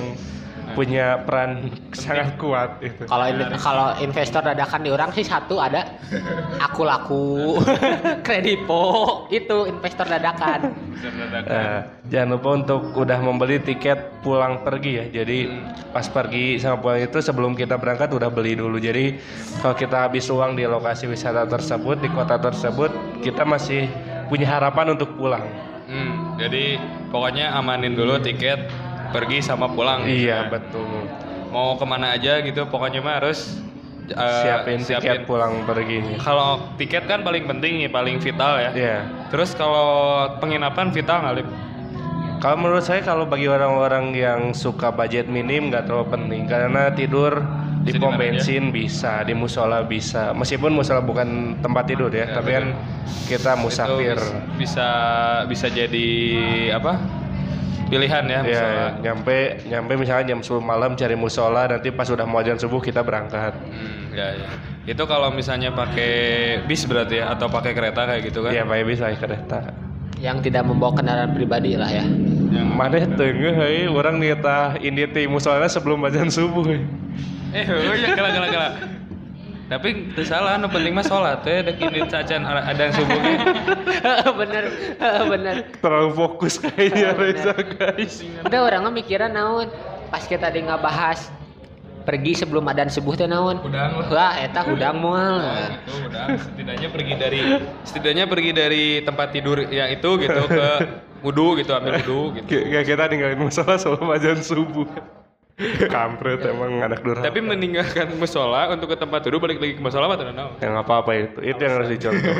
D: punya peran sangat kuat itu
A: Kalau in- kalau investor dadakan di orang sih satu ada aku laku kredipo itu investor dadakan.
C: bisa dadakan.
D: Nah, jangan lupa untuk udah membeli tiket pulang pergi ya. Jadi pas pergi sama pulang itu sebelum kita berangkat udah beli dulu. Jadi kalau kita habis uang di lokasi wisata tersebut di kota tersebut, kita masih punya harapan untuk pulang.
B: Hmm, jadi pokoknya amanin dulu tiket pergi sama pulang. gitu
D: Iya
B: kan.
D: betul.
B: Mau kemana aja gitu, pokoknya mah harus eh,
D: siapin, tiket pulang perginya.
B: Kalau tiket kan paling penting nih, paling vital ya.
D: Iya.
B: Terus kalau penginapan vital nggak, Lip?
D: Kalau menurut saya kalau bagi orang-orang yang suka budget minim nggak terlalu penting karena tidur
B: Bisa ya?
D: di pom
B: dimana aja?
D: bensin bisa, di musola bisa. Meskipun musola bukan tempat tidur ya, tapi kan kita
B: Iya, Itu
D: musafir.
B: bis- bisa bisa jadi apa? Pilihan ya,
D: Ya,
B: misalnya.
D: ya, nyampe nyampe misalnya jam 10 malam cari musola nanti pas udah mau azan subuh kita berangkat.
B: Hmm, ya, ya. Itu kalau misalnya pakai bis berarti ya atau pakai kereta kayak gitu kan?
D: Iya, Pak bisa naik kereta.
A: Yang tidak membawa kendaraan pribadi lah ya.
D: Mana tengah hei, orang nita ini ti musolana sebelum azan subuh. hei.
B: Eh, oh iya, kela kela kela. Tapi itu salah, anu penting mah sholat ya, dek ini cacan ada ada yang subuhnya.
A: bener bener.
D: Terlalu fokus
B: Iya,
D: kayaknya Reza guys.
A: Udah orangnya mikiran naon pas kita tadi bahas pergi sebelum adan subuh teh naon.
C: Udang lah.
A: Wah, eta udang moal.
C: Itu udah setidaknya pergi dari
B: Setidaknya pergi dari tempat tidur yang itu gitu ke wudhu gitu, ambil wudhu gitu.
D: Gak kita ninggalin musola sebelum azan subuh. Kampret emang anak durhaka.
B: Tapi meninggalkan musola untuk ke tempat wudhu balik lagi ke musola mah tidak tahu.
D: ya nggak apa-apa itu, itu yang harus dicontoh.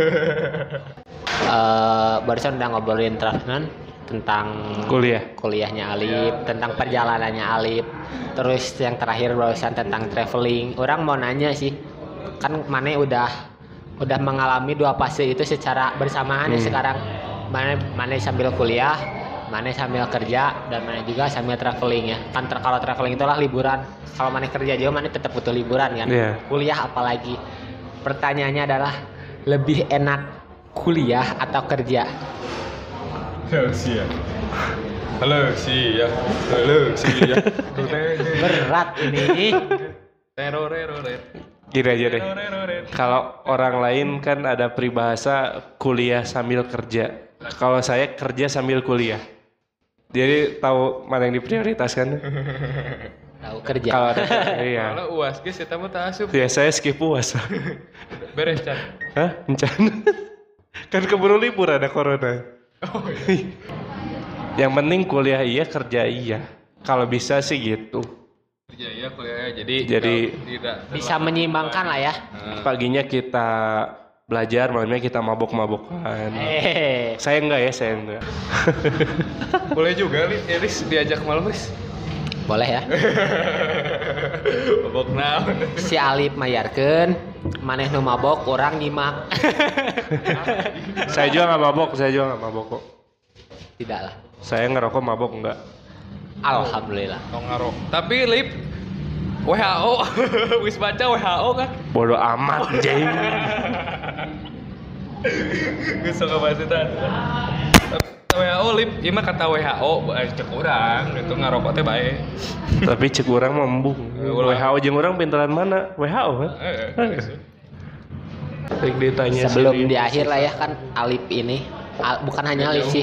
A: Eh, barusan udah ngobrolin Trasnan tentang
D: Kuliah.
A: kuliahnya
D: Iya,
A: Alip, tentang perjalanannya Alip, terus yang terakhir barusan tentang traveling. Orang mau nanya sih, kan Mane udah udah mengalami dua fase itu secara bersamaan
D: Hmm.
A: ya sekarang. Mane Mane sambil kuliah, Mane sambil kerja dan Mane juga sambil traveling ya. Kan tra- kalau traveling itulah liburan. Kalau Mane kerja juga Mane tetap butuh liburan kan.
D: Iya.
A: Kuliah apalagi. Pertanyaannya adalah lebih enak kuliah atau kerja?
C: Halo sia. Halo sia. Halo sia.
A: Berat ini.
D: Gini aja deh. Kalau orang lain kan ada peribahasa kuliah sambil kerja. Kalau saya kerja sambil kuliah. Jadi tahu mana yang diprioritaskan?
A: tahu kerja
D: Kalau ada iya.
B: Kalau uas guys, kita mau tasub
D: Ya saya skip puasa.
B: beres can.
D: Hah? Encan? kan keburu libur ada corona. yang penting kuliah iya, kerja iya. Kalau bisa sih gitu.
B: Iya iya kuliah jadi
D: Jadi-
B: kalau tidak
A: bisa menyimbangkan lah ya
D: Paginya kita belajar, malamnya kita mabok-mabokan.
A: eh
D: Saya enggak ya, saya enggak.
B: boleh juga Lip, Eh, Lis diajak malam Lis.
A: boleh ya
B: Bobok naon.
A: si Alip mayarkeun maneh nu mabok orang nyimak
D: saya juga nggak mabok, saya juga nggak mabok kok.
A: tidak lah
D: Saya ngerokok mabok enggak.
A: alhamdulillah
B: Nongarok. Tapi Lip WHO wis baca WHO kan.
D: Bodoh amat, anjing.
B: Gue suka bahas itu. WHO Lip, ieu mah kata WHO eh, cek urang gitu ngarokok teh bae.
D: Tapi cek orang mah embung.
B: Ulah.
D: WHO jeung orang pinteran mana? WHO kan?
B: Eh,
D: Baik ditanya
A: sebelum
D: sendiri.
A: di akhir lah ya kan Alip ini Al- bukan hanya Alip sih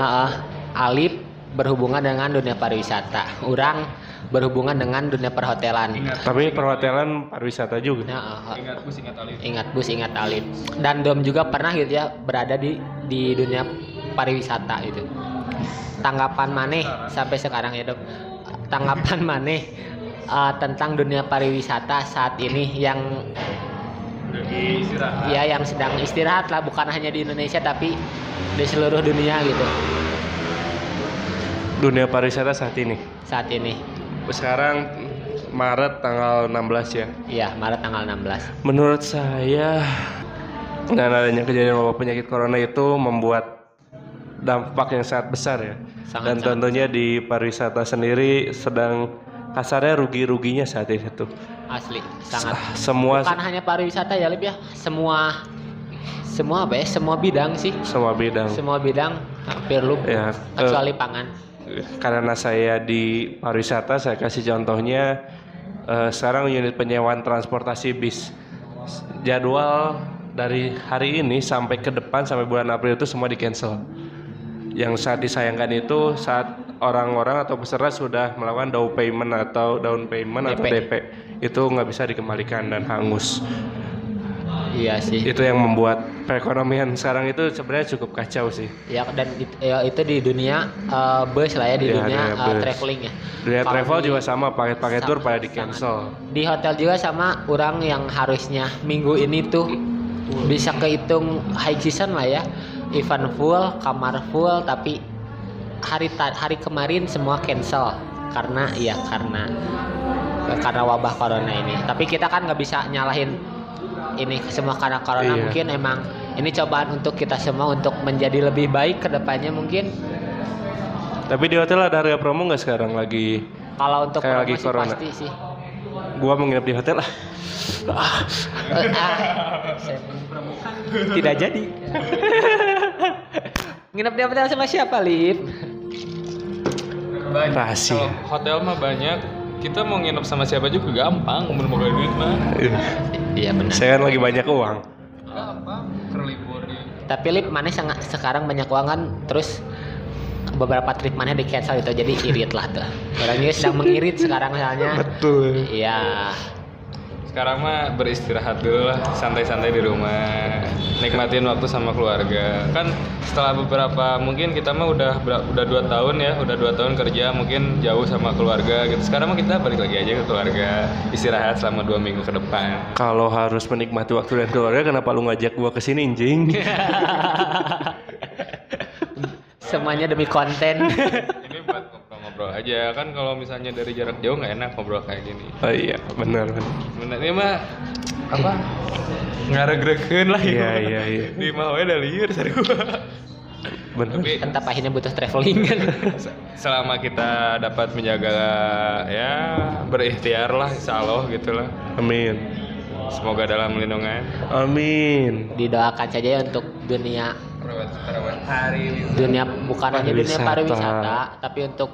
A: Ha-ha. Alip berhubungan dengan dunia pariwisata orang berhubungan dengan dunia perhotelan
D: Tapi perhotelan pariwisata juga.
A: Nah, ha-ha.
B: Ingat gue ingat Alif.
A: ingat bus ingat Alip dan Dom juga pernah gitu ya berada di di dunia pariwisata gitu tanggapan maneh sampai sekarang ya Dom tanggapan maneh eh, tentang dunia pariwisata saat ini yang ya yang sedang istirahat lah bukan hanya di Indonesia tapi di seluruh dunia gitu
D: Dunia pariwisata saat ini.
A: saat ini
D: Sekarang Maret tanggal 16 ya.
A: iya Maret tanggal 16
D: Menurut saya dengan adanya kejadian wabah penyakit corona itu membuat dampak yang sangat besar ya.
A: Sangat,
D: Dan
A: sangat
D: tentunya di pariwisata sendiri sedang kasarnya rugi-ruginya saat itu.
A: asli sangat
D: Semua
A: bukan hanya pariwisata ya Lip ya semua semua apa ya semua bidang sih
D: semua bidang.
A: semua bidang hampir lu
D: Ya,
A: kecuali pangan
D: karena saya di pariwisata saya kasih contohnya eh, sekarang unit penyewaan transportasi bis jadwal dari hari ini sampai ke depan sampai bulan April itu semua di cancel yang saat disayangkan itu saat orang-orang atau peserta sudah melakukan down payment atau down payment atau
A: DP.
D: DP itu nggak bisa dikembalikan dan hangus
A: iya sih
D: itu yang membuat perekonomian sekarang itu sebenarnya cukup kacau sih
A: ya dan it- ya, itu di dunia eh, bus lah ya di
D: Ya,
A: dunia
D: dunia
A: eh,
D: bus.
A: traveling ya
D: Dunia
A: Kalau
D: travel
A: di-
D: juga sama paket-paket tour
A: Sama,
D: pada di
A: sama.
D: cancel
A: di hotel juga sama orang yang harusnya minggu ini tuh bisa kehitung high season lah ya event full kamar full tapi hari ta- hari kemarin semua cancel karena ya karena karena wabah corona ini tapi kita kan nggak bisa nyalahin ini semua karena corona
D: Iya.
A: mungkin emang ini cobaan untuk kita semua untuk menjadi lebih baik kedepannya mungkin
D: Tapi di hotel ada harga promo nggak sekarang lagi?
A: kalau untuk
D: Kayak lagi
A: promosi
D: corona.
A: pasti sih
D: Gua mau nginep di hotel ah.
A: Eh, ah. Saya- Tidak jadi. Nginep di hotel sama siapa, Lip?
B: Banyak.
D: Rahasia.
B: Kalau hotel mah banyak. Kita mau nginep sama siapa juga gampang, mau modal duit mah.
A: Iya benar.
D: Saya kan lagi banyak uang.
B: Gampang, terlibur di
A: Tapi Lip mana seng- sekarang banyak uangan terus beberapa trip mana di cancel itu jadi irit lah tuh. Orang juga sedang mengirit sekarang misalnya.
D: Betul.
A: Iya.
B: Sekarang mah beristirahat dulu lah, santai-santai di rumah, nikmatin waktu sama keluarga. Kan setelah beberapa mungkin kita mah udah ber- udah dua tahun ya, udah dua tahun kerja, mungkin jauh sama keluarga gitu. Sekarang mah kita balik lagi aja ke keluarga, istirahat selama dua minggu ke depan.
D: Kalau harus menikmati waktu dan keluarga, kenapa lu ngajak gua ke sini, anjing?
A: Semuanya demi konten.
B: Ini buat ngobrol-ngobrol aja kan kalau misalnya dari jarak jauh nggak enak ngobrol kayak gini.
D: Oh iya, benar benar.
B: Bener ini mah apa? Ngareg-regen lah
D: Iya,
B: ieu.
D: iya, iya.
B: Di mah we dah lieur seru.
D: Benar.
B: Tapi
A: Entah akhirnya butuh traveling kan.
B: se- selama kita dapat menjaga ya berikhtiar lah insya Allah gitu lah.
D: Amin.
B: Semoga dalam lindungan.
D: Amin.
A: Didoakan saja ya untuk dunia
C: hari
A: dunia bukan hanya dunia
D: Pariwisata.
A: pariwisata tapi untuk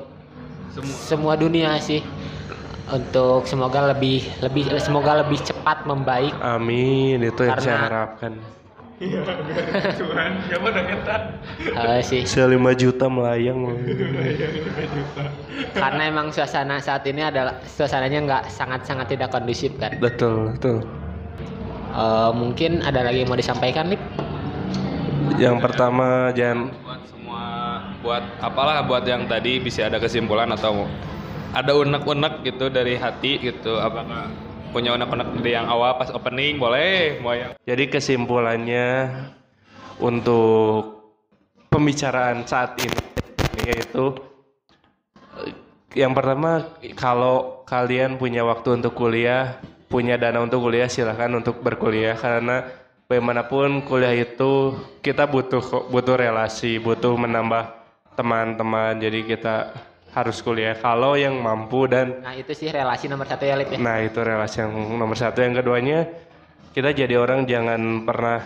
A: semua. dunia sih untuk semoga lebih lebih semoga lebih cepat membaik
D: Amin, itu yang
A: Karena-
D: saya harapkan.
B: Kan,
C: Tuhan siapa udah kita
A: eh, sih
D: Saya 5 juta melayang. loh.
A: karena emang suasana saat ini adalah suasananya nggak sangat sangat tidak kondusif kan
D: betul, betul.
A: Eh, mungkin ada lagi yang mau disampaikan Lip
D: Yang pertama jangan
B: Buat semua buat apalah buat yang tadi bisa ada kesimpulan atau ada unek-unek gitu dari hati gitu apakah punya unek-unek dari yang awal pas opening boleh mau yang
D: Jadi kesimpulannya untuk pembicaraan saat ini yaitu eh, yang pertama kalau kalian punya waktu untuk kuliah, punya dana untuk kuliah silahkan untuk berkuliah karena bagaimanapun kuliah itu kita butuh kok- butuh relasi, butuh menambah teman-teman. Jadi kita harus kuliah kalau yang mampu dan
A: nah itu sih relasi nomor satu ya Lip ya
D: Nah itu relasi yang nomor satu. Yang keduanya kita jadi orang jangan pernah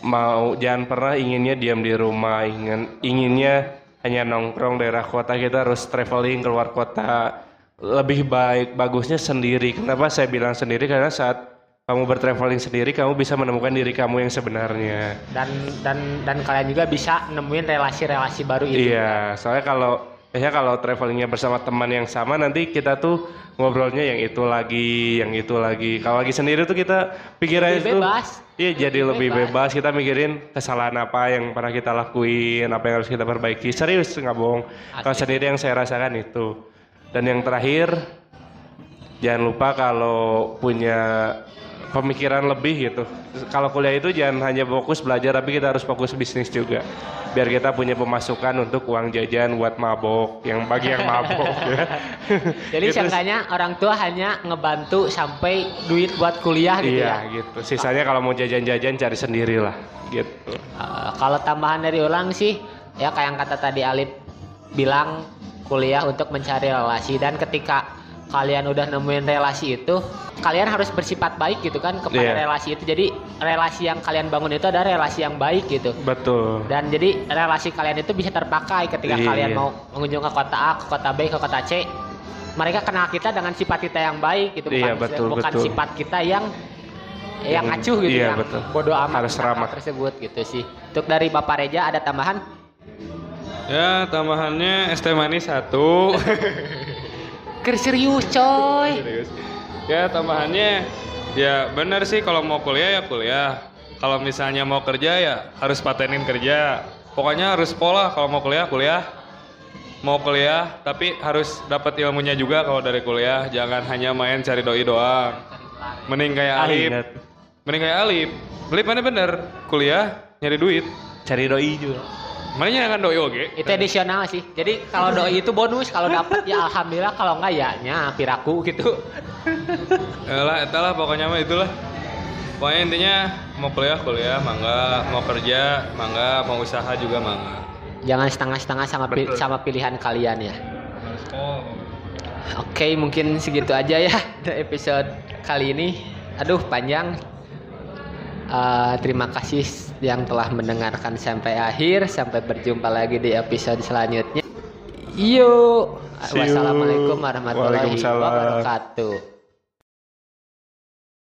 D: mau jangan pernah inginnya diam di rumah, ingin inginnya hanya nongkrong daerah kota kita harus traveling keluar kota lebih baik bagusnya sendiri. Kenapa saya bilang sendiri? Karena saat kamu bertraveling sendiri kamu bisa menemukan diri kamu yang sebenarnya.
A: dan dan dan kalian juga bisa nemuin relasi-relasi baru itu ya.
D: Iya, soalnya kalau biasanya kalau travelingnya bersama teman yang sama nanti kita tuh ngobrolnya yang itu lagi, yang itu lagi. Kalau lagi sendiri tuh kita pikirannya
A: Lebih
D: tuh
A: bebas.
D: Iya, jadi lebih
A: bebas.
D: bebas. Kita mikirin kesalahan apa yang pernah kita lakuin, apa yang harus kita perbaiki. Serius nggak bohong. Kalau
A: Asli.
D: sendiri yang saya rasakan itu. Dan yang terakhir, jangan lupa kalau punya pemikiran lebih gitu. Kalau kuliah itu jangan hanya fokus belajar, tapi kita harus fokus bisnis juga. Biar kita punya pemasukan untuk uang jajan buat mabok, yang bagi yang mabok ya.
A: Jadi
D: Gitu.
A: seenggaknya orang tua hanya ngebantu sampai duit buat kuliah gitu
D: Iya
A: ya.
D: gitu. Sisanya kalau mau jajan-jajan cari sendirilah gitu.
A: Eh, kalau tambahan dari ulang sih ya kayak yang kata tadi Alip bilang kuliah untuk mencari relasi dan ketika kalian udah nemuin relasi itu kalian harus bersifat baik gitu kan kepada
D: Iya.
A: relasi itu jadi relasi yang kalian bangun itu ada relasi yang baik gitu
D: Betul.
A: dan jadi relasi kalian itu bisa terpakai ketika
D: Iya.
A: kalian mau mengunjung ke kota A, ke kota B, ke kota C. Mereka kenal kita dengan sifat kita yang baik gitu,
D: Iya,
A: bukan
D: betul,
A: bukan
D: betul.
A: sifat kita yang yang
D: Yang-
A: acuh gitu,
D: iya,
A: yang
D: betul.
A: bodoh amat
D: Harus
A: tentang hal
D: ramah.
A: tersebut gitu sih. Untuk dari Bapak Reja ada tambahan?
B: Ya tambahannya es teh manis satu.
A: Ker serius coy.
B: Serius. Ya tambahannya ya benar sih kalau mau kuliah ya kuliah. Kalau misalnya mau kerja ya harus patenin kerja. Pokoknya harus pola kalau mau kuliah kuliah. Mau kuliah tapi harus dapat ilmunya juga kalau dari kuliah. Jangan hanya main cari doi doang. Mending kayak Alif.
D: Ah, Ingat,
B: Mending kayak Alif. Alif mana bener kuliah nyari duit.
D: Cari doi juga.
B: Mana jangan doi oge.
A: Itu additional sih. Jadi kalau doi itu bonus, kalau dapat ya alhamdulillah, kalau enggak ya nya piraku gitu.
B: Yalah, etalah pokoknya mah itulah. Pokoknya intinya mau kuliah kuliah, mangga, mau kerja, mangga, mau usaha juga mangga.
A: Jangan setengah-setengah sama pi- sama pilihan kalian ya. Oke, mungkin segitu aja ya untuk episode kali ini. Aduh, panjang. Eh, terima kasih yang telah mendengarkan sampai akhir. Sampai berjumpa lagi di episode selanjutnya. Yuk.
D: See you.
A: Wassalamualaikum warahmatullahi
D: Waalaikumsalam.
A: wabarakatuh.